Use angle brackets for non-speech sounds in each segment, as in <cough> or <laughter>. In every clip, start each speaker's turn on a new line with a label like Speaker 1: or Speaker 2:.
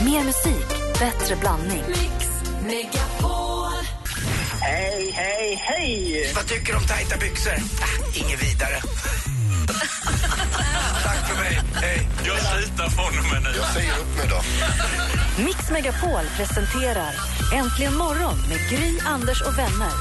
Speaker 1: Mer musik, bättre blandning.
Speaker 2: Mix Megapol.
Speaker 3: Hej, hej, hej!
Speaker 4: Vad tycker du om tajta byxor? Ah, inget vidare. Tack för mig. Hej.
Speaker 5: Jag slutar från och med nu.
Speaker 6: Jag säger upp mig då.
Speaker 1: Mix Megapol presenterar Äntligen morgon med Gry, Anders och vänner.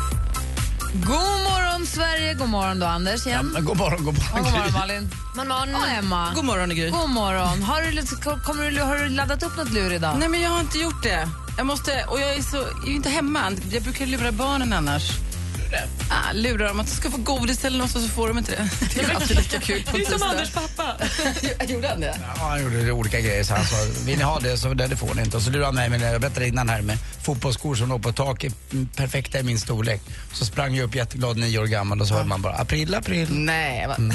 Speaker 7: God morgon, Sverige! God morgon, då, Anders. Igen.
Speaker 4: God morgon, god
Speaker 7: Och god morgon,
Speaker 4: morgon.
Speaker 7: Malin. Och Emma.
Speaker 8: God morgon, Gry.
Speaker 7: God morgon. Har du, lite- kommer du, har du laddat upp något lur idag?
Speaker 8: Nej, men jag har inte gjort det. Jag måste, och jag är, så, jag är ju inte hemma. Jag brukar lura barnen annars. Ah, lurar dem att de ska få godis eller något och så får de inte det. <laughs> Det är alltid lika kul på en tisdag.
Speaker 7: pappa.
Speaker 8: Jag Gjorde han det?
Speaker 4: Ja, han gjorde olika grejer. Så han sa, vill ni ha det så det, det får ni inte. Och så lurade han mig, med, jag berättade innan här, med fotbollsskor som låg på taket, mm, perfekta i min storlek. Så sprang jag upp jätteglad, nio år gammal, och så hörde man bara april, april.
Speaker 8: Nej, vad...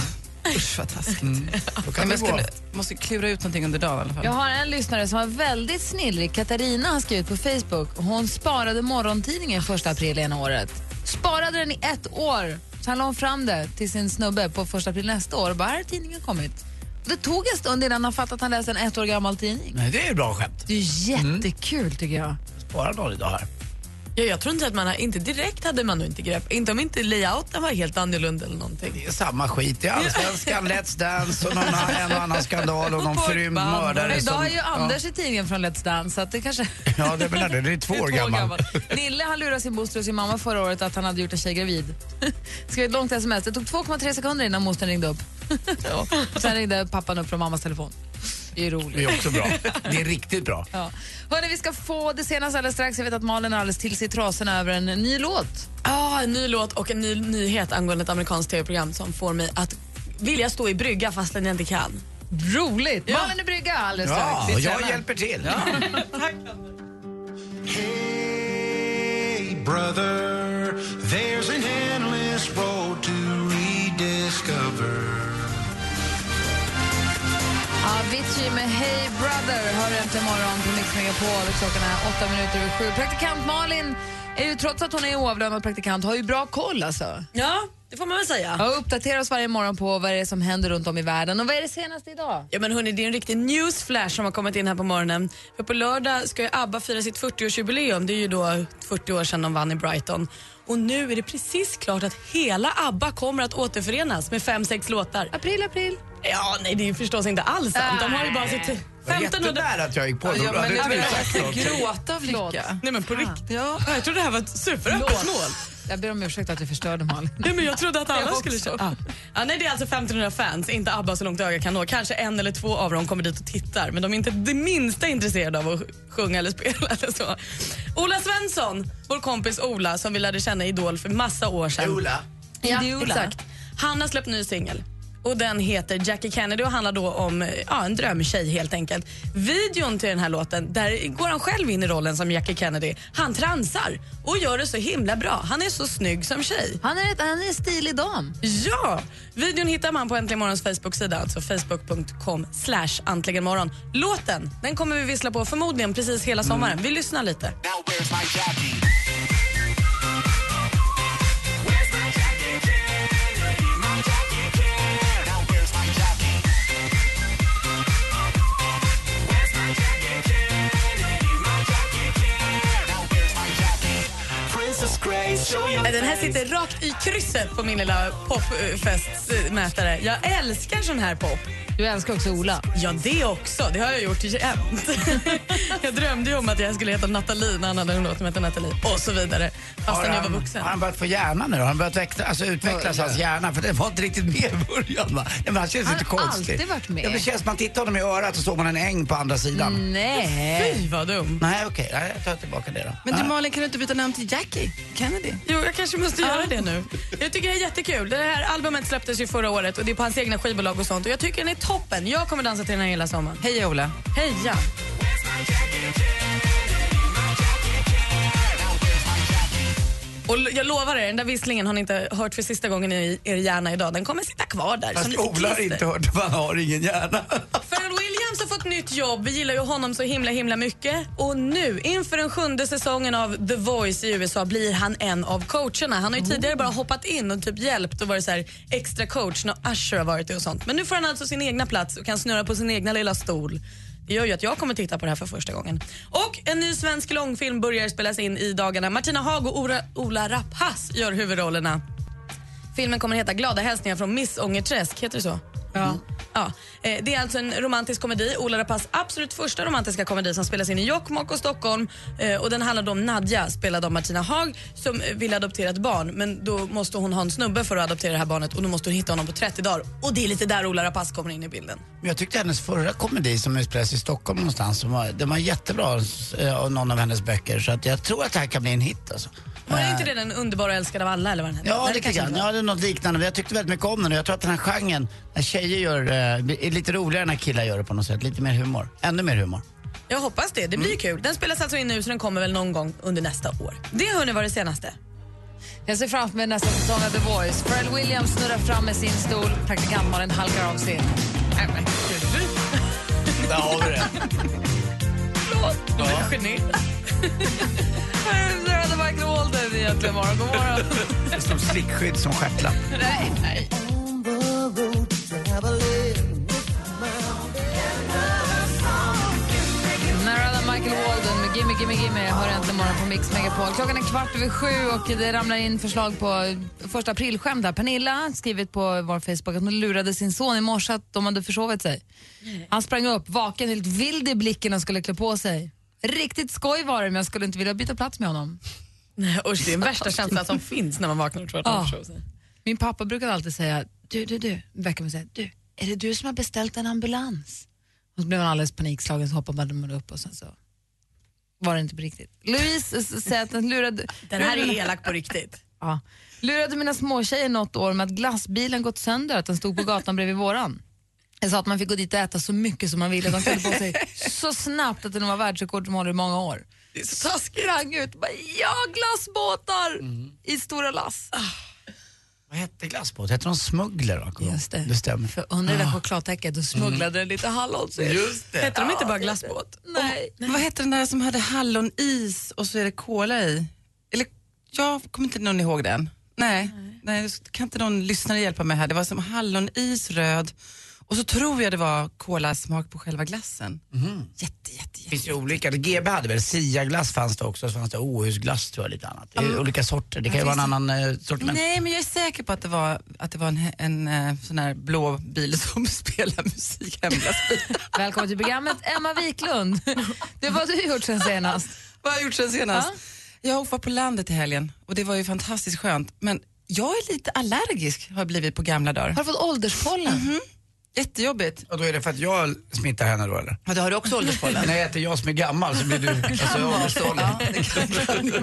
Speaker 8: Usch, vad taskigt.
Speaker 4: Mm. Då
Speaker 8: Nej,
Speaker 4: kan
Speaker 8: men
Speaker 4: det
Speaker 8: jag
Speaker 4: gå.
Speaker 8: skulle, måste klura ut någonting under dagen i alla fall.
Speaker 7: Jag har en lyssnare som var väldigt snillrig. Katarina har skrivit på Facebook. Hon sparade morgontidningen första april ena året. Sparade den i ett år. Sen la hon fram det till sin snubbe på första april nästa år. Bara, här har tidningen kommit. Och det tog en stund innan han fattade att han läste en ett år gammal tidning.
Speaker 4: Nej, det är ju bra skämt.
Speaker 7: Det är ju jättekul tycker jag.
Speaker 4: Bara någon idag här.
Speaker 9: Ja, jag tror inte att man har, inte direkt hade man nog inte grepp. Inte om inte layouten var helt annorlunda eller någonting.
Speaker 4: Det är samma skit i Allsvenskan, Let's Dance och någon, en och annan skandal och någon förrymd mördare.
Speaker 7: Men
Speaker 4: som-
Speaker 7: idag är ju Anders i tidningen från Let's Dance så att det kanske...
Speaker 4: Ja, ja det menar du. Det är <laughs> två
Speaker 7: <laughs>
Speaker 4: år gammal.
Speaker 7: Nille han lurade sin moster och sin mamma förra året att han hade gjort en tjej gravid. <laughs> Skrev ett långt sms. Det tog 2,3 sekunder innan mostern ringde upp. <laughs> Sen ringde pappan upp från mammas telefon. Det är roligt.
Speaker 4: Det är också bra. Det är riktigt bra.
Speaker 7: Ja. Hörni, vi ska få det senaste alldeles strax. Jag vet att Malin är alldeles till sig i trasorna över en ny låt.
Speaker 9: Ah, en ny låt och en ny nyhet angående ett amerikanskt tv-program som får mig att vilja stå i brygga fastän jag inte kan.
Speaker 7: Roligt! Malin är brygga alldeles
Speaker 4: Ja,
Speaker 7: strax.
Speaker 4: och jag hjälper till.
Speaker 5: Hey brother, there's an endless road to rediscover.
Speaker 7: Avicii med Hey Brother hör du äntligen morgon på Mix Megapol. Klockan är åtta minuter över sju. Praktikant Malin är ju trots att hon är oavlönad praktikant har ju bra koll alltså.
Speaker 9: Ja, det får man väl säga.
Speaker 7: Ja, uppdaterar oss varje morgon på vad det är som händer runt om i världen. Och vad är det senaste idag?
Speaker 9: Ja men hörni, det är en riktig newsflash som har kommit in här på morgonen. För på lördag ska ju ABBA fira sitt 40-årsjubileum. Det är ju då 40 år sedan de vann i Brighton. Och nu är det precis klart att hela ABBA kommer att återförenas med fem, sex låtar.
Speaker 7: April, april.
Speaker 9: Ja, nej det är ju förstås inte alls sant. De har ju bara sitt...
Speaker 4: Det var
Speaker 9: 1500...
Speaker 4: jättenära att jag gick på det.
Speaker 8: Ja,
Speaker 4: Då hade
Speaker 8: men jag
Speaker 4: inte du
Speaker 8: vill
Speaker 4: sagt något.
Speaker 8: gråta av lycka.
Speaker 9: Nej men på riktigt. Ja, jag trodde det här var ett
Speaker 7: Låt.
Speaker 9: superöppet mål.
Speaker 7: Jag ber om ursäkt att jag förstörde
Speaker 8: <laughs>
Speaker 7: Malin.
Speaker 9: Nej men jag trodde att alla
Speaker 8: Jag
Speaker 9: skulle
Speaker 8: också.
Speaker 9: köpa. Ja, nej det är alltså 1500 fans, inte ABBA så långt ögat kan nå. Kanske en eller två av dem kommer dit och tittar men de är inte det minsta intresserade av att sjunga eller spela eller så. Ola Svensson, vår kompis Ola som vi lärde känna i Idol för massa år sedan.
Speaker 4: Ola.
Speaker 9: Ja,
Speaker 7: Idiola.
Speaker 9: exakt. Han har släppt ny singel. Och Den heter Jackie Kennedy och handlar då om eh, ja, en drömtjej. helt enkelt. Videon till den här låten, där går han själv in i rollen som Jackie Kennedy. Han transar och gör det så himla bra. Han är så snygg som tjej.
Speaker 7: Han är, ett, han är en stilig dam.
Speaker 9: Ja! Videon hittar man på Äntligen Morgons Facebook-sida, alltså facebook.com slash antligenmorgon. Låten den kommer vi vissla på förmodligen precis hela sommaren. Vi lyssnar lite. Nej, Den här sitter rakt i krysset på min lilla popfestmätare. Jag älskar sån här pop.
Speaker 7: Du älskar också Ola.
Speaker 9: Ja, det också. Det har jag gjort jämt. <laughs> jag drömde ju om att jag skulle heta Nathalie när han hade en låt som hette Nathalie och så vidare. Fastän jag var vuxen.
Speaker 4: har han börjat få hjärnan nu då? Har han börjat växa, alltså, utvecklas hans hjärna? För den var inte riktigt med i början va? Nej, men han känns
Speaker 7: Han
Speaker 4: lite
Speaker 7: har
Speaker 4: konstig.
Speaker 7: alltid varit med. Mm.
Speaker 4: Ja, det känns, man tittar honom i örat och såg man en äng på andra sidan.
Speaker 7: Nej.
Speaker 9: Fy vad dum.
Speaker 4: Nej okej, Nej, jag tar tillbaka det då.
Speaker 8: Men du
Speaker 4: Nej.
Speaker 8: Malin, kan du inte byta namn till Jackie Kennedy?
Speaker 9: Jo, jag kanske måste göra det nu. Jag tycker det är jättekul. Det här albumet släpptes ju förra året och det är på hans egna skivbolag och sånt. Och jag tycker den är toppen. Jag kommer dansa till den här hela sommaren.
Speaker 8: Hej Ola.
Speaker 9: Heja! Och lo- jag lovar er, den där visslingen har ni inte hört för sista gången i er hjärna idag. Den kommer sitta kvar där. som
Speaker 4: Fast
Speaker 9: lite
Speaker 4: Ola har
Speaker 9: klister.
Speaker 4: inte hört för han har ingen hjärna.
Speaker 9: Pharrell Williams har fått nytt jobb. Vi gillar ju honom så himla himla mycket. Och nu, inför den sjunde säsongen av The Voice i USA blir han en av coacherna. Han har ju tidigare bara hoppat in och typ hjälpt och varit så här extra coach när Usher har varit det och sånt. Men nu får han alltså sin egna plats och kan snurra på sin egna lilla stol. Det gör ju att jag kommer titta på det här för första gången. Och en ny svensk långfilm börjar spelas in i dagarna. Martina Haag och Ora, Ola Rapace gör huvudrollerna. Filmen kommer heta Glada hälsningar från Missångerträsk, heter det så? Ja. ja. Eh, Det är alltså en romantisk komedi, Ola Rapaces absolut första romantiska komedi som spelas in i Jokkmokk och Stockholm. Eh, Och den handlar då om Nadja, spelad av Martina Haag, som eh, vill adoptera ett barn. Men då måste hon ha en snubbe för att adoptera det här barnet och då måste hon hitta honom på 30 dagar. Och det är lite där Ola Rapace kommer in i bilden.
Speaker 4: Men jag tyckte hennes förra komedi som utspelades i Stockholm någonstans, som var, den var jättebra eh, av någon av hennes böcker. Så att jag tror att det här kan bli en hit alltså.
Speaker 9: Var det inte det den underbara och älskade av alla? Eller vad den hette?
Speaker 4: Ja,
Speaker 9: Nej,
Speaker 4: lite
Speaker 9: kanske
Speaker 4: grann.
Speaker 9: inte var.
Speaker 4: Ja, det är något liknande. Men jag tyckte väldigt mycket om den och jag tror att den här genren, när tjejer gör, eh, är lite roligare när killar gör det på något sätt. Lite mer humor. Ännu mer humor.
Speaker 9: Jag hoppas det. Det blir
Speaker 4: Mm.
Speaker 9: kul. Den spelas alltså in nu så den kommer väl någon gång under nästa år. Det hörni var det senaste.
Speaker 7: Jag ser framför mig nästa säsong av The Voice. Pharrell Williams snurrar fram med sin stol, praktikant Malin halkar av sin.
Speaker 4: Där har vi det.
Speaker 9: Förlåt, du är ett geni.
Speaker 7: <laughs> Jag hade bara gråtit egentligen bara. God morgon.
Speaker 4: Det är som slickskydd som stjärtlapp.
Speaker 7: Narada Michael Walden med Gimme Gimme Gimme hör äntligen morgon på Mix Megapol. Klockan är kvart över sju och det ramlar in förslag på första aprilskämt här. Pernilla har skrivit på vår Facebook att hon lurade sin son i morse att de hade försovit sig. Han sprang upp vaken, helt vild i blicken och skulle klä på sig. Riktigt skoj var det men jag skulle inte vilja byta plats med honom.
Speaker 9: Nej, <laughs> usch, det är den värsta känslan som finns när man vaknar och tror att man
Speaker 7: Ja.
Speaker 9: förstår sig.
Speaker 7: Min pappa brukade alltid säga, du, du, du, väcka mig och säga, du, är det du som har beställt en ambulans? Och så blev han alldeles panikslagen så hoppade man upp och sen så var det inte på riktigt. Louise s- säger
Speaker 9: <laughs>
Speaker 7: att den lurade,
Speaker 9: Den här är elak på riktigt.
Speaker 7: ja, lurade mina småtjejer något år med att glassbilen gått sönder, att den stod på gatan bredvid våran. Jag sa att man fick gå dit och äta så mycket som man ville, de klädde på
Speaker 9: <laughs>
Speaker 7: sig så snabbt att det nog var världsrekord som håller i många år.
Speaker 9: Det är så taskigt. Mm.
Speaker 7: Sprang ut och bara, ja glassbåtar i stora lass.
Speaker 4: Vad hette glassbåt? Hette de Smuggler? va?
Speaker 7: Just det.
Speaker 4: det stämmer. Ah. Mm.
Speaker 7: För under det där chokladtäcket då smugglade den lite hallonsylt.
Speaker 4: Just det.
Speaker 9: Hette de inte bara glassbåt?
Speaker 7: Nej.
Speaker 8: Vad hette den där som hade hallonis och så är det kola i? Eller, jag kommer inte någon ihåg den. Nej, nej. kan inte någon lyssnare hjälpa mig här? Det var som hallonis, röd och så tror jag det var kolasmak på själva glassen. Jätte, jätte,
Speaker 4: Det
Speaker 8: jätte.
Speaker 4: finns ju olika. GB hade väl Siaglass fanns det också, så fanns det Åhusglass tror jag lite annat. Det är ju olika sorter. Det kan ju vara en annan eh, sortiment.
Speaker 8: Nej, men jag är säker på att det var, att det var en, en eh, sån här blå bil <laughs> som spelar musik, hemglassbil.
Speaker 7: Välkommen till programmet Emma <laughs> Wiklund. Det var du gjort sen senast.
Speaker 8: Vad har jag gjort sen senast? Jag var på landet i helgen och det var ju fantastiskt skönt. Men jag är lite allergisk har jag blivit på gamla dagar.
Speaker 7: Har du fått ålderspollen?
Speaker 8: Jättejobbigt.
Speaker 4: Och då är det för att jag smittar henne då eller?
Speaker 8: Ja, då har du också ålderspollen.
Speaker 4: Nej, det är jag som är gammal så blir
Speaker 7: <laughs>
Speaker 4: du... Alltså, jag åldersdålig.
Speaker 8: <laughs>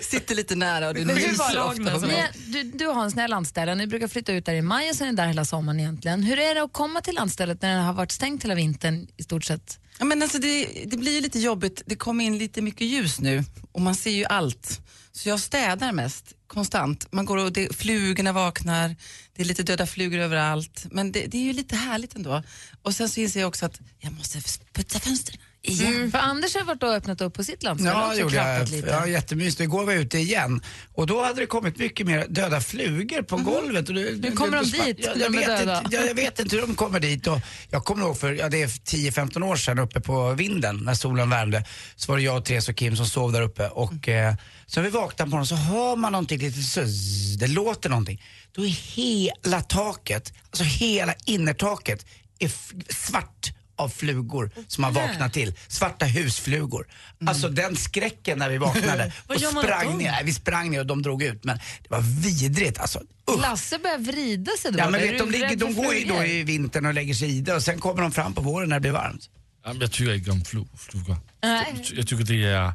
Speaker 8: Sitter lite nära och du
Speaker 7: Men hur
Speaker 8: nyser
Speaker 7: var det?
Speaker 8: ofta på mig.
Speaker 7: Ni- Du, du har en snäll anställare. Ni brukar flytta ut där i maj och sen är ni där hela sommaren egentligen. Hur är det att komma till anstället när det har varit stängt hela vintern i stort sett?
Speaker 8: Ja, men alltså det, det blir ju lite jobbigt. Det kommer in lite mycket ljus nu och man ser ju allt. Så jag städar mest, konstant. Man går och det, flugorna vaknar, det är lite döda flugor överallt. Men det, det är ju lite härligt ändå. Och sen så inser jag också att jag måste putsa fönstren igen.
Speaker 7: Mm. För Anders har varit och öppnat upp på sitt landställe
Speaker 4: Ja,
Speaker 7: också,
Speaker 4: gjorde
Speaker 7: klappat
Speaker 4: jag.
Speaker 7: lite.
Speaker 4: Ja, jättemysigt. Igår var jag ute igen och då hade det kommit mycket mer döda flugor på golvet. Och det,
Speaker 7: Mhm. Nu kommer
Speaker 4: det-
Speaker 7: de
Speaker 4: det-
Speaker 7: dit,
Speaker 4: Jag,
Speaker 7: de är
Speaker 4: jag, vet
Speaker 7: döda.
Speaker 4: inte, jag, jag vet inte hur de kommer dit. Och jag kommer ihåg för ja, det är 10-15 år sedan uppe på vinden när solen värmde så var det jag, och Therese och Kim som sov där uppe och
Speaker 9: Mm.
Speaker 4: eh, så när vi vaknade på morgonen så hör man någonting lite så, det låter någonting. Då är hela taket, alltså hela innertaket är f- svart av flugor som har vaknat till. Svarta husflugor. Alltså den skräcken när
Speaker 9: <laughs>
Speaker 4: vi vaknade
Speaker 9: Mm. Vad
Speaker 4: och
Speaker 9: gör man åt
Speaker 4: sprang
Speaker 9: dem?
Speaker 4: ner. Nej, vi sprang ner och de drog ut men det var vidrigt alltså. Usch.
Speaker 7: Lasse börjar vrida sig då.
Speaker 4: Ja, men
Speaker 7: Är
Speaker 4: vet, de,
Speaker 7: du
Speaker 4: ligger,
Speaker 7: rädd
Speaker 4: de
Speaker 7: för
Speaker 4: går ju då
Speaker 7: flugor?
Speaker 4: i vintern och lägger sig i det och sen kommer de fram på våren när det blir varmt.
Speaker 6: Jamen, jeg tykker ikke om flu, flukker.
Speaker 7: Nej.
Speaker 6: Jeg tykker, det er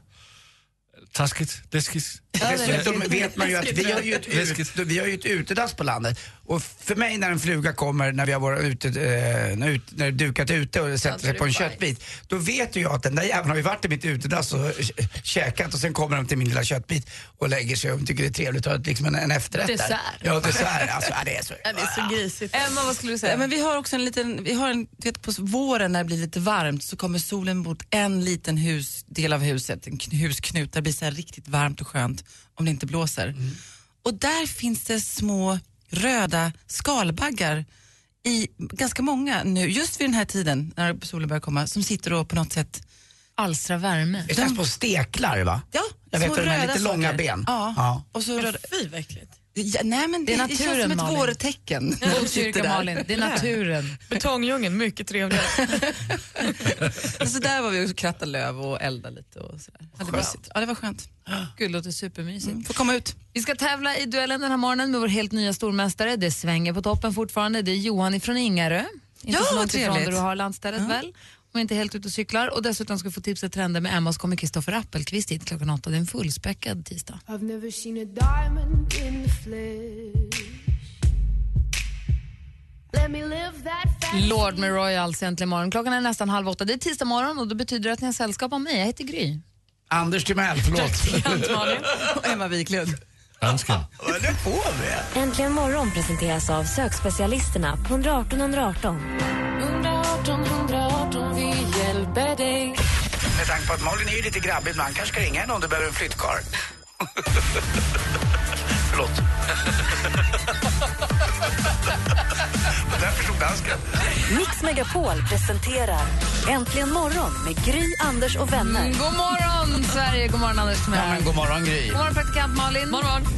Speaker 6: øh, taskigt, läskigt.
Speaker 7: Ja, det är-
Speaker 4: Dessutom vet man ju att vi har ju, ett ut,
Speaker 6: Läskigt.
Speaker 4: vi har ju ett utedass på landet och för mig när en fluga kommer när vi har varit ute, eh, när, ut, när det dukat ute och sätter sig på en köttbit, då vet ju jag att den där jäveln har ju varit i mitt utedass och kä- käkat och sen kommer de till min lilla köttbit och lägger sig och tycker det är trevligt att ha ett- liksom en, en efterrätt
Speaker 7: Dessert.
Speaker 4: där. Ja, dessert. Alltså, ja, det är så.
Speaker 9: <laughs> Ja, det är så grisigt.
Speaker 7: Emma, vad skulle du säga?
Speaker 8: Ja, men vi har också en liten, vi har en, du vet, på våren när det blir lite varmt så kommer solen mot en liten hus, del av huset, en kn- husknut, där det blir så här riktigt varmt och skönt om det inte
Speaker 7: Mm.
Speaker 8: blåser. Och där finns det små röda skalbaggar i ganska många nu, just vid den här tiden när solen börjar komma, som sitter och på något sätt
Speaker 7: Alstra värme.
Speaker 4: Det känns på steklar va?
Speaker 8: Ja,
Speaker 4: Jag vet
Speaker 8: små
Speaker 4: att de är
Speaker 8: röda
Speaker 4: lite långa
Speaker 8: saker.
Speaker 4: ben.
Speaker 8: Ja.
Speaker 4: Ja.
Speaker 8: Och så röda,
Speaker 9: Fy vad äckligt.
Speaker 8: ja, nej men det,
Speaker 7: är
Speaker 8: det,
Speaker 7: naturen,
Speaker 8: känns som ett
Speaker 7: Malin.
Speaker 8: vårtecken. när de sitter
Speaker 7: Motstyrka
Speaker 8: där.
Speaker 7: Malin, det är <laughs> naturen.
Speaker 10: Betongdjungeln, mycket trevligare.
Speaker 8: Så Alltså, där var vi och krattade löv och eldade lite och sådär. Ja, det, var, mysigt. ja, det var skönt.
Speaker 7: Gud, låter supermysigt.
Speaker 8: Får komma ut.
Speaker 7: Vi ska tävla i duellen den här morgonen med vår helt nya stormästare. Det svänger på toppen fortfarande. Det är Johan ifrån Ingarö. Inte
Speaker 8: Ja,
Speaker 7: så
Speaker 8: vad
Speaker 7: långt ifrån
Speaker 8: trevligt.
Speaker 7: där du har landstället väl. Om jag inte är helt ute och cyklar. Och dessutom ska vi få tips och trender med Emma och så kommer Kristoffer Appelqvist hit klockan åtta. Det är en fullspäckad tisdag. Lord med Royals äntligen morgon. Klockan är nästan halv åtta. Det är tisdag morgon och då betyder det att ni har sällskap av mig. Jag heter Gry.
Speaker 4: Anders Timell, förlåt.
Speaker 8: Och Emma Wiklund.
Speaker 6: Dansken.
Speaker 4: Nu får vi.
Speaker 1: Äntligen morgon presenteras av sökspecialisterna på 118 118.
Speaker 4: Med tanke på att Malin är ju lite grabbig ibland kanske ska ringa henne om du behöver en flyttkarl. Förlåt. Där förstod dansken.
Speaker 1: Mix Megapol presenterar Äntligen morgon med Gry, Anders och vänner.
Speaker 7: God morgon Sverige, god morgon Anders
Speaker 4: Ja, men
Speaker 7: Timell.
Speaker 4: god morgon Gry.
Speaker 7: God morgon praktikant Malin. God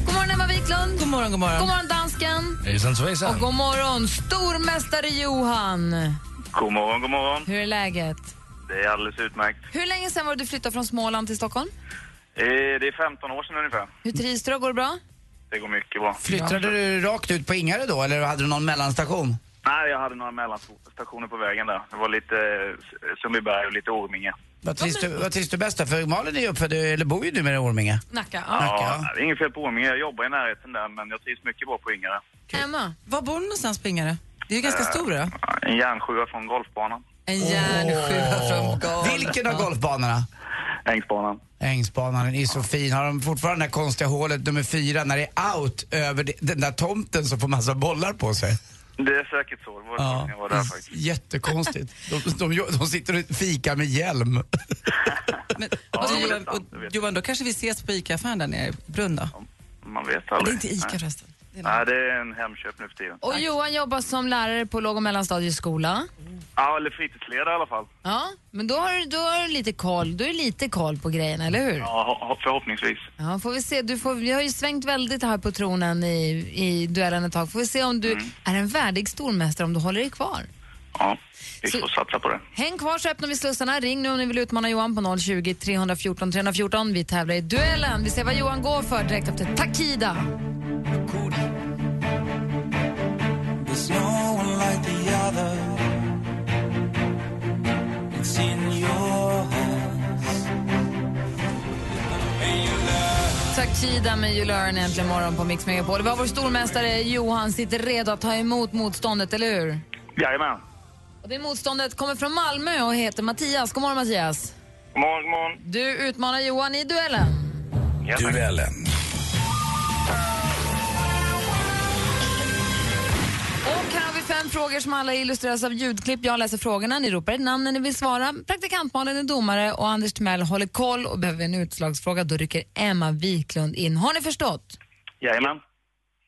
Speaker 7: morgon Emma Wiklund.
Speaker 8: God morgon, god morgon.
Speaker 7: God morgon dansken.
Speaker 6: Hejsan svejsan.
Speaker 7: Och god morgon stormästare Johan.
Speaker 3: God morgon, god morgon.
Speaker 7: Hur är läget?
Speaker 3: Det är alldeles utmärkt.
Speaker 7: Hur länge sen var det du flyttade från Småland till Stockholm?
Speaker 3: Eh, Det är 15 år sedan ungefär.
Speaker 7: Hur trivs du då? Går det bra?
Speaker 3: Det går mycket bra.
Speaker 4: Flyttade du rakt ut på Ingarö då eller hade du någon mellanstation?
Speaker 3: Nej, jag hade några mellanstationer på vägen där. Det var lite eh, Sundbyberg och lite Orminge.
Speaker 4: Vad trivs, du, vad trivs du bäst då? För Malin är ju uppfödd, eller bor ju nu med i Orminge.
Speaker 7: Nacka.
Speaker 4: Nacka,
Speaker 3: Ja,
Speaker 4: ja.
Speaker 3: nej, det är inget fel på Orminge. Jag jobbar i närheten där, men jag trivs mycket bra på Ingarö.
Speaker 7: Emma?
Speaker 8: Var bor du någonstans på Ingarö? Det är ju ganska stor ö.
Speaker 3: Ja, Eh, En järnsjua från golfbanan.
Speaker 8: En järnsjua från golv.
Speaker 4: Vilken av golfbanorna?
Speaker 3: Ängsbanan.
Speaker 4: Ängsbanan är så fin. Har de fortfarande det här konstiga hålet nummer fyra när det är out över det- den där tomten som får massa bollar på sig?
Speaker 3: Det är säkert så. Det var ett tag sedan jag
Speaker 4: Mm.
Speaker 3: var där faktiskt.
Speaker 4: jättekonstigt. De, de, gör- de sitter och fikar med hjälm.
Speaker 8: Men,
Speaker 3: Ja,
Speaker 8: och
Speaker 3: det är
Speaker 8: Johan,
Speaker 3: sant, det vet
Speaker 8: och, Johan, då kanske vi ses på ICA-affären där nere i Brunn då?
Speaker 3: Man vet aldrig.
Speaker 8: Det är inte ICA
Speaker 3: Nej.
Speaker 8: förresten. Det är någon-
Speaker 3: Nej, det är en Hemköp nu för tiden.
Speaker 7: Och Johan jobbar som lärare på låg och mellanstadieskola.
Speaker 3: Ja, eller fritidsledare i alla fall.
Speaker 7: Ja, men då har, du- då har du lite koll. Du är lite koll på grejerna, eller hur?
Speaker 3: Ja, ho- ho- förhoppningsvis.
Speaker 7: Ja, får vi se. Du får, vi har ju svängt väldigt här på tronen i, i duellen ett tag. Får vi se om du är en värdig stormästare om du håller dig kvar.
Speaker 3: Ja, vi
Speaker 7: Så-
Speaker 3: får satsa på det.
Speaker 7: Häng kvar så öppnar vi slussarna. Ring nu om ni vill utmana Johan på 020 314 314. Vi tävlar i duellen. Vi ser vad Johan går för direkt efter Takida. Takida med You Learn äntligen morgon på Mix Megapol. Vi har vår stormästare Johan sitter redo att ta emot motståndet, eller hur?
Speaker 3: Jajamän.
Speaker 7: Och det motståndet kommer från Malmö och heter Mattias. God morgon Mattias.
Speaker 3: God morgon, god morgon.
Speaker 7: Du utmanar Johan i duellen.
Speaker 3: Ja, tack.
Speaker 7: Och här har vi fem frågor som alla illustreras av ljudklipp. Jag läser frågorna, ni ropar ett namn när ni vill svara. Praktikantmalen är domare och Anders Timell håller koll och behöver vi en utslagsfråga då rycker Emma Wiklund in. Har ni förstått?
Speaker 3: Jajamän.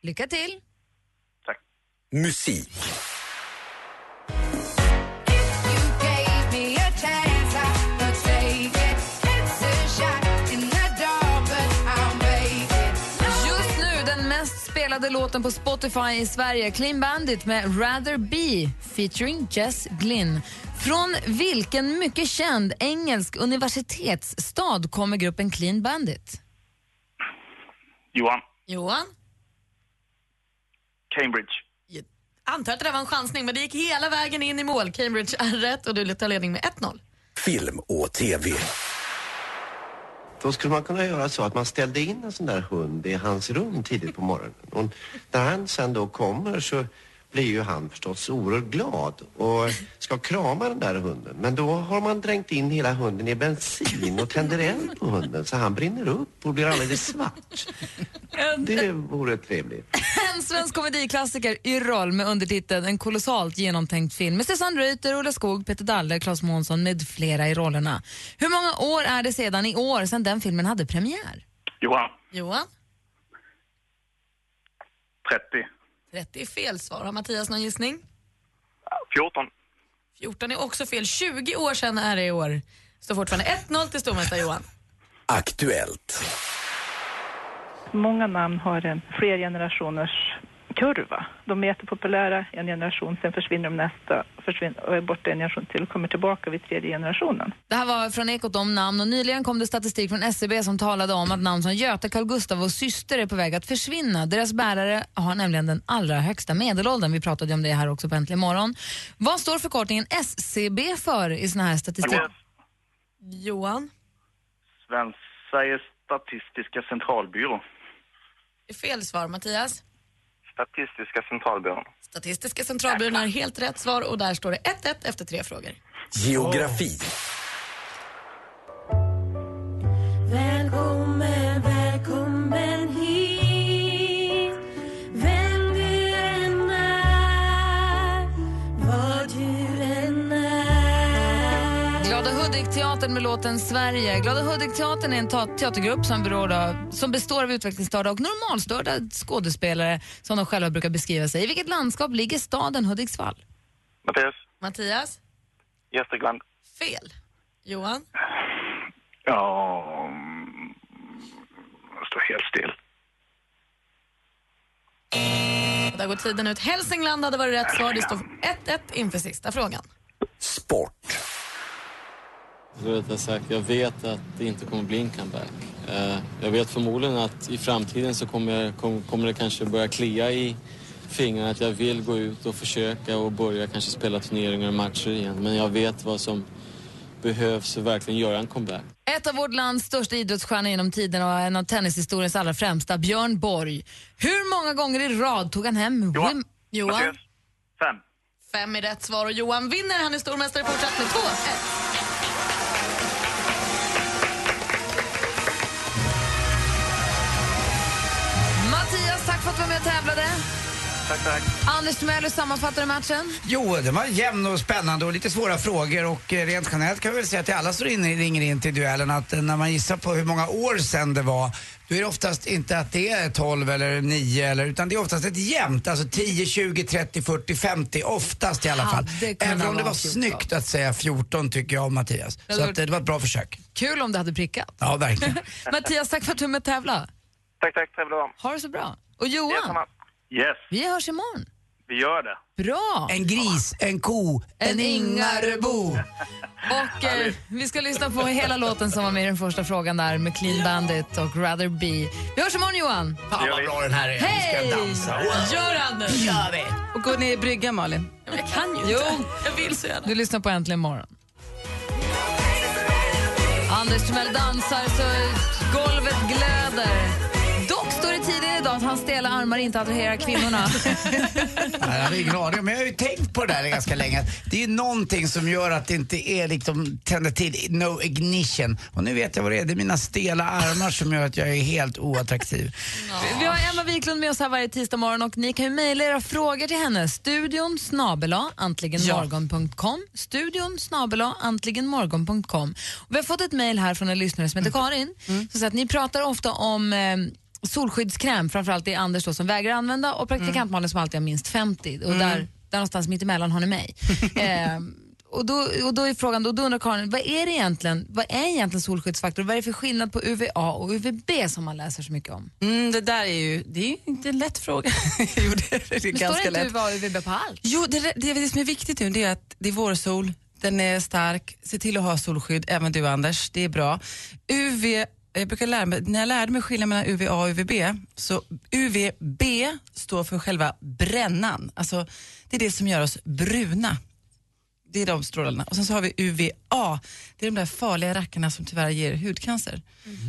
Speaker 7: Lycka till!
Speaker 3: Tack.
Speaker 11: Musik.
Speaker 7: Just nu den mest spelade låten på Spotify i Sverige, Clean Bandit med Rather Be featuring Jess Glynn. Från vilken mycket känd engelsk universitetsstad kommer gruppen Clean Bandit?
Speaker 3: Johan,
Speaker 7: Johan?
Speaker 3: Cambridge.
Speaker 9: Jag antar att det där var en chansning, men det gick hela vägen in i mål. Cambridge är rätt och du tar ledning med 1-0.
Speaker 11: Film och TV.
Speaker 5: Då skulle man kunna göra så att man ställde in en sån där hund i hans rum tidigt på morgonen. Och när han sen då kommer så blir ju han förstås oerhört glad och ska krama den där hunden. Men då har man drängt in hela hunden i bensin och tänder eld på hunden så han brinner upp och blir alldeles svart. Det vore trevligt.
Speaker 7: En svensk komediklassiker, Yrrol, med undertiteln En kolossalt genomtänkt film med Susanne Reuter, Ola Skog, Peter Dalle, Claes Månsson med flera i rollerna. Hur många år är det sedan i år sedan den filmen hade premiär?
Speaker 3: Johan,
Speaker 9: Johan?
Speaker 3: 30.
Speaker 9: 30 är fel svar. Har Mattias någon gissning?
Speaker 3: 14.
Speaker 9: 14 är också fel. 20 år sedan är det i år. Står fortfarande 1-0 till stormästare Johan.
Speaker 11: Aktuellt.
Speaker 12: Många namn har en flergenerationers kurva. De är jättepopulära en generation, sen försvinner de nästa, försvinner, och är borta en generation till och kommer tillbaka vid tredje generationen.
Speaker 7: Det här var från Ekot om namn och nyligen kom det statistik från SCB som talade om att namn som Göta, Carl Gustav och syster är på väg att försvinna. Deras bärare har nämligen den allra högsta medelåldern. Vi pratade ju om det här också på Äntligen morgon. Vad står förkortningen SCB för i sån här statistik?
Speaker 3: Agnes.
Speaker 9: Johan?
Speaker 3: Svensk, Sveriges statistiska centralbyrå.
Speaker 9: Fel svar Mattias.
Speaker 3: Statistiska centralbyrån.
Speaker 9: Statistiska centralbyrån har helt rätt svar och där står det 1-1 efter tre frågor.
Speaker 11: Geografi.
Speaker 2: Välkommen, välkommen hit Vem du än är, vad du än är
Speaker 7: Glada Hudik-teatern med låten Sverige. Glada Hudik-teatern är en ta- teatergrupp som, beror av, som består av utvecklingsstörda och normalstörda skådespelare som de själva brukar beskriva sig. I vilket landskap ligger staden Hudiksvall?
Speaker 3: Mattias.
Speaker 9: Mattias?
Speaker 3: Gästrikland.
Speaker 9: Fel. Johan?
Speaker 3: Ja... mm, jag Står helt still.
Speaker 9: Och Där går tiden ut. Hälsingland hade varit rätt svar. Det står 1-1 inför sista frågan.
Speaker 11: Sport.
Speaker 13: Eller rättare sagt, jag vet att det inte kommer bli en comeback. Eh, Jag vet förmodligen att i framtiden så kommer, jag, kom- kommer det kanske börja klia i fingrarna att jag vill gå ut och försöka och börja kanske spela turneringar och matcher igen. Men jag vet vad som behövs för att verkligen göra en comeback.
Speaker 7: Ett av vårt lands största idrottsstjärnor genom tiden och en av tennishistoriens allra främsta, Björn Borg. Hur många gånger i rad tog han hem Wim...
Speaker 9: Johan?
Speaker 3: Fem.
Speaker 9: Fem är rätt svar och Johan vinner. Han är stormästare fortsatt med 2-1.
Speaker 7: Mattias, tack för att du var med och tävlade.
Speaker 3: Tack, tack.
Speaker 7: Anders Timell, hur sammanfattar du matchen?
Speaker 4: Jo, den var jämn och spännande och lite svåra frågor och eh, rent generellt kan vi väl säga till alla som ringer ringer in till duellen att eh, när man gissar på hur många år sedan det var, då är det oftast inte att det är 12 eller 9 eller, utan det är oftast ett jämnt, alltså 10, 20, 30, 40, 50, oftast i alla fall.
Speaker 7: Hade kunnat
Speaker 4: Även om det var
Speaker 7: vara 14.
Speaker 4: snyggt att säga 14 tycker jag Mattias. Så
Speaker 7: Det hade
Speaker 4: att, eh, det var ett bra försök.
Speaker 7: Kul om du hade prickat.
Speaker 4: Ja, verkligen. <laughs>
Speaker 7: Mattias, tack för att du var med och tävlade.
Speaker 3: Tack, tack. Trevlig dag.
Speaker 7: Ha det så bra. Och Johan,
Speaker 3: Yes,
Speaker 7: vi hörs imorgon.
Speaker 3: vi gör det.
Speaker 7: Bra!
Speaker 4: En gris, en ko, en,
Speaker 7: En
Speaker 4: Ingarebo.
Speaker 7: Och eh, vi ska lyssna på hela låten som var med i den första frågan där med Clean Bandit och Rather Be. Vi hörs imorgon Johan!
Speaker 4: Fan vad bra den här är.
Speaker 7: Hej!
Speaker 4: Vi ska dansa.
Speaker 9: Gör Anders!
Speaker 7: gör vi!
Speaker 8: Och gå ner i bryggan, Malin.
Speaker 9: Jag kan ju inte.
Speaker 7: Jo.
Speaker 9: Jag vill så gärna.
Speaker 7: Du lyssnar på Äntligen morgon. Anders Timell dansar så golvet glöder. Dock står det tidigare idag att hans stela armar inte attraherar kvinnorna. <laughs>
Speaker 4: Nej, jag hade ingen aning om, men jag har ju tänkt på det där ganska länge. Det är ju någonting som gör att det inte är liksom, tänder till, no ignition. Och nu vet jag vad det är, det är mina stela armar som gör att jag är helt oattraktiv.
Speaker 7: Vi har Emma Wiklund med oss här varje tisdag morgon och ni kan ju mejla era frågor till henne. Studion snabela antligenmorgon.com. Studion snabela antligenmorgon.com. Och Vi har fått ett mejl här från en lyssnare som heter Karin som säger att ni pratar ofta om eh, solskyddskräm, framförallt det är Anders då som vägrar använda och praktikant Malin som alltid har minst 50 och där, där någonstans mittemellan har ni mig. eh, och då, och då är frågan, och då undrar Karin, vad är det egentligen, vad är egentligen solskyddsfaktor? Vad är det för skillnad på UVA och UVB som man läser så mycket om?
Speaker 8: Mm, det där är ju, det är ju inte en lätt fråga. <laughs> jo, det är, det är
Speaker 7: Men står
Speaker 8: ganska
Speaker 7: det inte
Speaker 8: lätt.
Speaker 7: UVA och UVB på allt?
Speaker 8: Jo, det, det, det som är viktigt nu det är att det är vårsol, den är stark, se till att ha solskydd, även du Anders, det är bra. eh, UV, jag brukar lära mig, när jag lärde mig skilja mellan UVA och UVB, så UVB står för själva brännan, alltså det är det som gör oss bruna. Det är de strålarna. Och sen så har vi UVA, det är de där farliga rackarna som tyvärr ger hudcancer.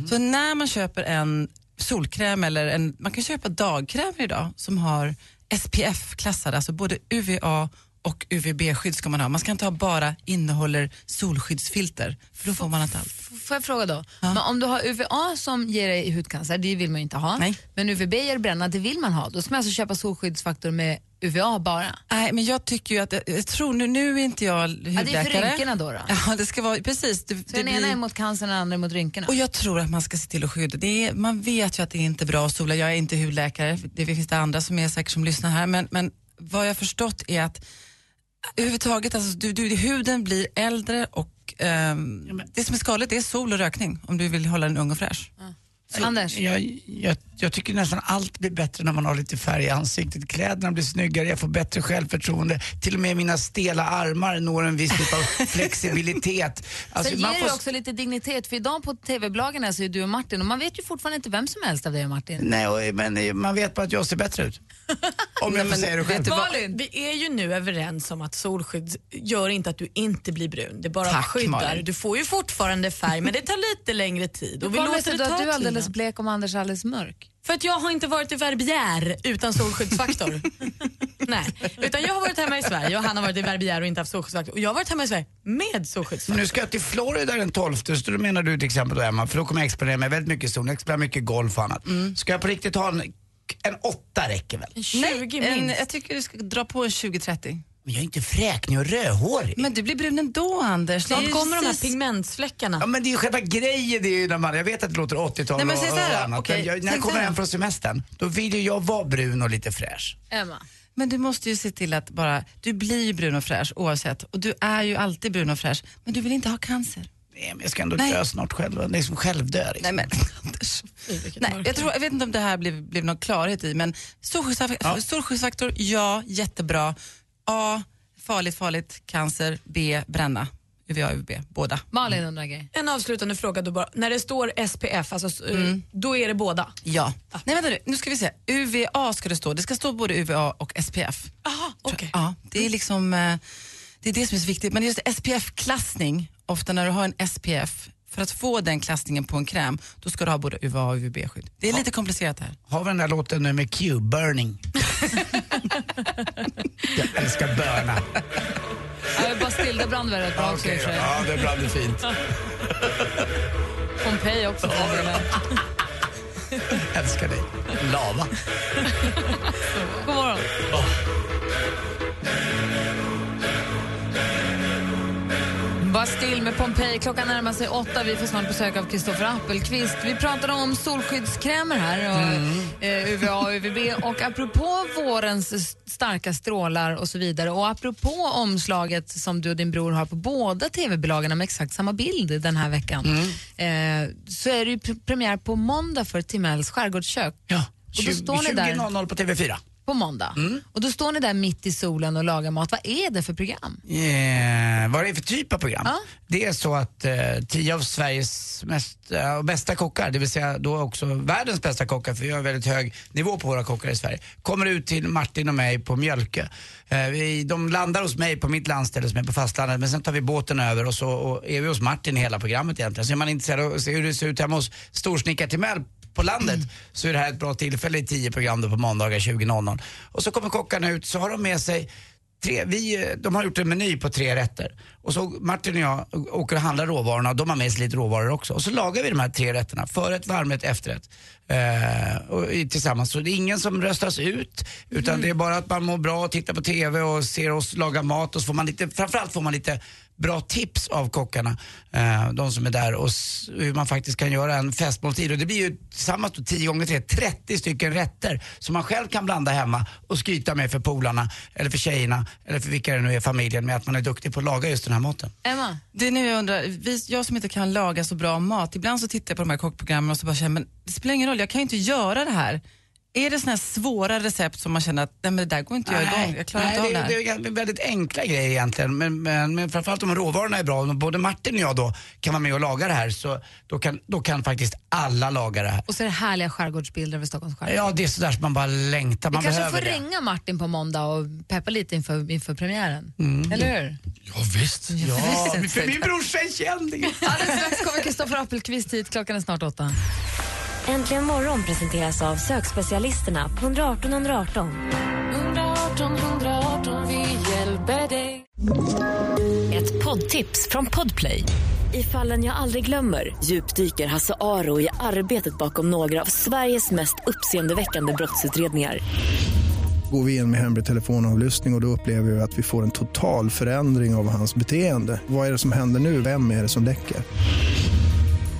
Speaker 8: Så när man köper en solkräm eller en, man kan köpa dagkrämer idag som har SPF-klassade, alltså både UVA och UVB-skydd ska man ha. Man ska inte ha bara innehåller solskyddsfilter, för då får man inte allt.
Speaker 7: F- Får jag fråga då? Men om du har UVA som ger dig hudcancer, det vill man ju inte ha.
Speaker 8: Nej.
Speaker 7: Men UVB ger bränna, det vill man ha. Då ska man alltså köpa solskyddsfaktor med UVA bara.
Speaker 8: Nej, men jag tycker ju att, eh, jag tror nu, nu är inte jag hudläkare.
Speaker 7: det är för rynkorna då, då?
Speaker 8: <laughs> Ja, det ska vara, precis. Det,
Speaker 7: Så den ena är mot cancern och den andra är mot rynkorna.
Speaker 8: Och jag tror att man ska se till att skydda. Det är, man vet ju att det är inte är bra att sola. Jag är inte hudläkare, det finns det andra som är säkert som lyssnar här. Men, men vad jag förstått är att Överhuvudtaget, alltså, du, du, huden blir äldre och ehm, det som är skadligt det är sol och rökning om du vill hålla den ung och fräsch.
Speaker 7: Anders?
Speaker 4: Jag, jag, jag tycker nästan allt blir bättre när man har lite färg i ansiktet. Kläderna blir snyggare, jag får bättre självförtroende. Till och med mina stela armar når en viss typ
Speaker 7: <laughs>
Speaker 4: av flexibilitet. Alltså,
Speaker 7: Sen ger
Speaker 4: man
Speaker 7: det
Speaker 4: får-
Speaker 7: ju också lite dignitet, för idag på TV-bloggen är så är du och Martin och man vet ju fortfarande inte vem som helst av dig och Martin.
Speaker 4: Nej, och- men eh, man vet bara att jag ser bättre ut. Om jag får säga det själv.
Speaker 9: Vi är ju nu överens om att solskydd gör inte att du inte blir brun. Det bara
Speaker 4: Tack,
Speaker 9: skyddar.
Speaker 4: Malin.
Speaker 9: Du får ju fortfarande färg men det tar lite längre tid.
Speaker 7: Du
Speaker 9: Och vi
Speaker 7: kommer
Speaker 9: låter
Speaker 7: sig
Speaker 9: det
Speaker 7: då
Speaker 9: ta
Speaker 7: att du är
Speaker 9: tid.
Speaker 7: alldeles blek om Anders är alldeles mörk.
Speaker 9: För att jag har inte varit i Verbier utan
Speaker 7: <laughs>
Speaker 9: solskyddsfaktor. Nej, utan jag har varit hemma i Sverige och han har varit i Verbier och inte haft solskyddsfaktor. Och jag har varit hemma i Sverige med solskyddsfaktor.
Speaker 4: Nu ska jag till Florida den 12, så då menar du till exempel då Emma, för då kommer jag exponera mig väldigt mycket i solen, jag spelar mycket golf och annat.
Speaker 8: Mm.
Speaker 4: Ska jag på riktigt ha en, en åtta räcker väl?
Speaker 8: Nej, en, jag tycker du ska dra på en 20-30.
Speaker 4: Men jag är inte fräknig och rödhårig.
Speaker 8: Men du blir brun ändå Anders. Det är
Speaker 9: Snart
Speaker 8: ju
Speaker 9: kommer de här
Speaker 8: precis-
Speaker 9: pigmentfläckarna.
Speaker 4: Ja, men det är ju själva grejen. Det är ju när man, jag vet att det låter 80-tal
Speaker 8: Nej, men
Speaker 4: och,
Speaker 8: säg
Speaker 4: och
Speaker 8: så här då,
Speaker 4: annat.
Speaker 8: okej,
Speaker 4: men jag, när
Speaker 8: säg
Speaker 4: jag
Speaker 8: så
Speaker 4: kommer
Speaker 8: här
Speaker 4: hem
Speaker 8: då.
Speaker 4: från semestern, då vill ju jag vara brun och lite fräsch.
Speaker 7: Emma.
Speaker 8: Men du måste ju se till att bara, du blir ju brun och fräsch oavsett. Och du är ju alltid brun och fräsch, men du vill inte ha cancer.
Speaker 4: Nej, men jag ska ändå
Speaker 8: Nej.
Speaker 4: dö snart själv. Liksom självdö. Liksom.
Speaker 8: Nej, men, <laughs> Nej, jag, tror, jag vet inte om det här blev, blev någon klarhet i, men solskyddsfaktor, solskyddsfaktor ja, jättebra. A, farligt, farligt, cancer. B, bränna. UVA, UVB, båda.
Speaker 7: Malin undrar en grej.
Speaker 9: En avslutande fråga då bara. När det står SPF, alltså, eh,
Speaker 7: Mm.
Speaker 9: då är det båda?
Speaker 8: Ja. Nej, vänta nu, nu ska vi se. UVA ska det stå. Det ska stå både UVA och SPF.
Speaker 9: Aha, okay.
Speaker 8: Ja, det är liksom eh, det, är det som är så viktigt. Men just SPF-klassning, ofta när du har en SPF, för att få den klassningen på en kräm, då ska du ha både UVA och UVB-skydd. Det är lite komplicerat det här.
Speaker 4: Har vi den där låten nu med Q, Burning?
Speaker 8: <laughs>
Speaker 4: jag älskar börna.
Speaker 7: Ja, Bastilda brann väl rätt bra också i och för sig.
Speaker 4: Ja, det brann ju fint.
Speaker 7: Pompeji också för den delen.
Speaker 4: Älskar dig. Lava.
Speaker 7: God morgon. Var still med Pompeji. Klockan närmar sig åtta. Vi får snart besök av Kristoffer Appelqvist. Vi pratade om solskyddskrämer här, och, eh, UVA och UVB. Och apropå vårens s- starka strålar och så vidare och apropå omslaget som du och din bror har på båda tv-bolagen med exakt samma bild den här veckan eh, så är det ju pr- premiär på måndag för Timells skärgårdskök.
Speaker 4: Ja,
Speaker 7: och då står ni där
Speaker 4: 20.00 på TV4.
Speaker 7: på måndag.
Speaker 9: Mm.
Speaker 4: Mm.
Speaker 7: Och då står ni där mitt i solen och lagar mat. Vad är det för program?
Speaker 4: Eh, vad är det för typ av program? Det är så att eh, tio av Sveriges mest, eh, bästa kockar, det vill säga då också världens bästa kockar, för vi har en väldigt hög nivå på våra kockar i Sverige, kommer ut till Martin och mig på Mjölke. Eh, vi, de landar hos mig på mitt landställe som är på fastlandet, men sen tar vi båten över och så och är vi hos Martin hela programmet egentligen. Så är man intresserad av att se hur det ser ut hemma hos storsnickar Timell på landet så är det här ett bra tillfälle i tio program då på måndagar 20.00. Och så kommer kockarna ut så har de med sig Tre, vi, eh, de har gjort en meny på tre rätter. Och så Martin och jag åker och handlar råvarorna och de har med sig lite råvaror också. Och så lagar vi de här tre rätterna, förrätt, varmrätt, efterrätt. Eh, och, i- tillsammans. Så det är ingen som röstas ut utan det är bara att man mår bra och tittar på TV och ser oss laga mat och så får man lite, framförallt får man lite bra tips av kockarna, eh, de som är där och s- hur man faktiskt kan göra en festmåltid. Och det blir ju tillsammans då 10 gånger 3, 30 stycken rätter som man själv kan blanda hemma och skryta med för polarna eller för tjejerna eller för vilka det nu är i familjen med att man är duktig på att laga just den här maten.
Speaker 7: Emma?
Speaker 8: Det är nu jag undrar, vi, jag som inte kan laga så bra mat, ibland så tittar jag på de här kockprogrammen och så bara känner men det spelar ingen roll, jag kan ju inte göra det här. Är det sådana här svåra recept som man känner att nej men det där går inte att göra igång, jag klarar
Speaker 4: nej,
Speaker 8: inte av
Speaker 4: det,
Speaker 8: det
Speaker 4: är-
Speaker 8: här.
Speaker 4: det är gan- väldigt enkla grejer egentligen. Men, men, men framförallt om råvarorna är bra, om både Martin och jag då kan vara med och laga det här så då kan, då kan faktiskt alla laga det här.
Speaker 7: Och så är det härliga skärgårdsbilder över Stockholms skärgård.
Speaker 4: Ja, det är sådär som man bara längtar.
Speaker 7: Vi
Speaker 4: Man
Speaker 7: kanske
Speaker 4: behöver
Speaker 7: får
Speaker 4: det.
Speaker 7: ringa Martin på måndag och peppa lite inför, inför premiären.
Speaker 4: Mm.
Speaker 7: Eller hur?
Speaker 4: Ja, visst. Ja, för min brorsa är kändis.
Speaker 7: Alldeles strax kommer Kristoffer Appelqvist hit. Klockan är snart åtta.
Speaker 14: Äntligen morgon presenteras av sökspecialisterna på 118 118.
Speaker 2: 118 118 vi hjälper dig
Speaker 14: Ett poddtips från Podplay. I fallen jag aldrig glömmer djupdyker Hasse Aro i arbetet bakom några av Sveriges mest uppseendeväckande brottsutredningar.
Speaker 15: Går vi in med hemlig telefonavlyssning och, och då upplever vi att vi får en total förändring av hans beteende. Vad är det som händer nu? Vem är det som läcker?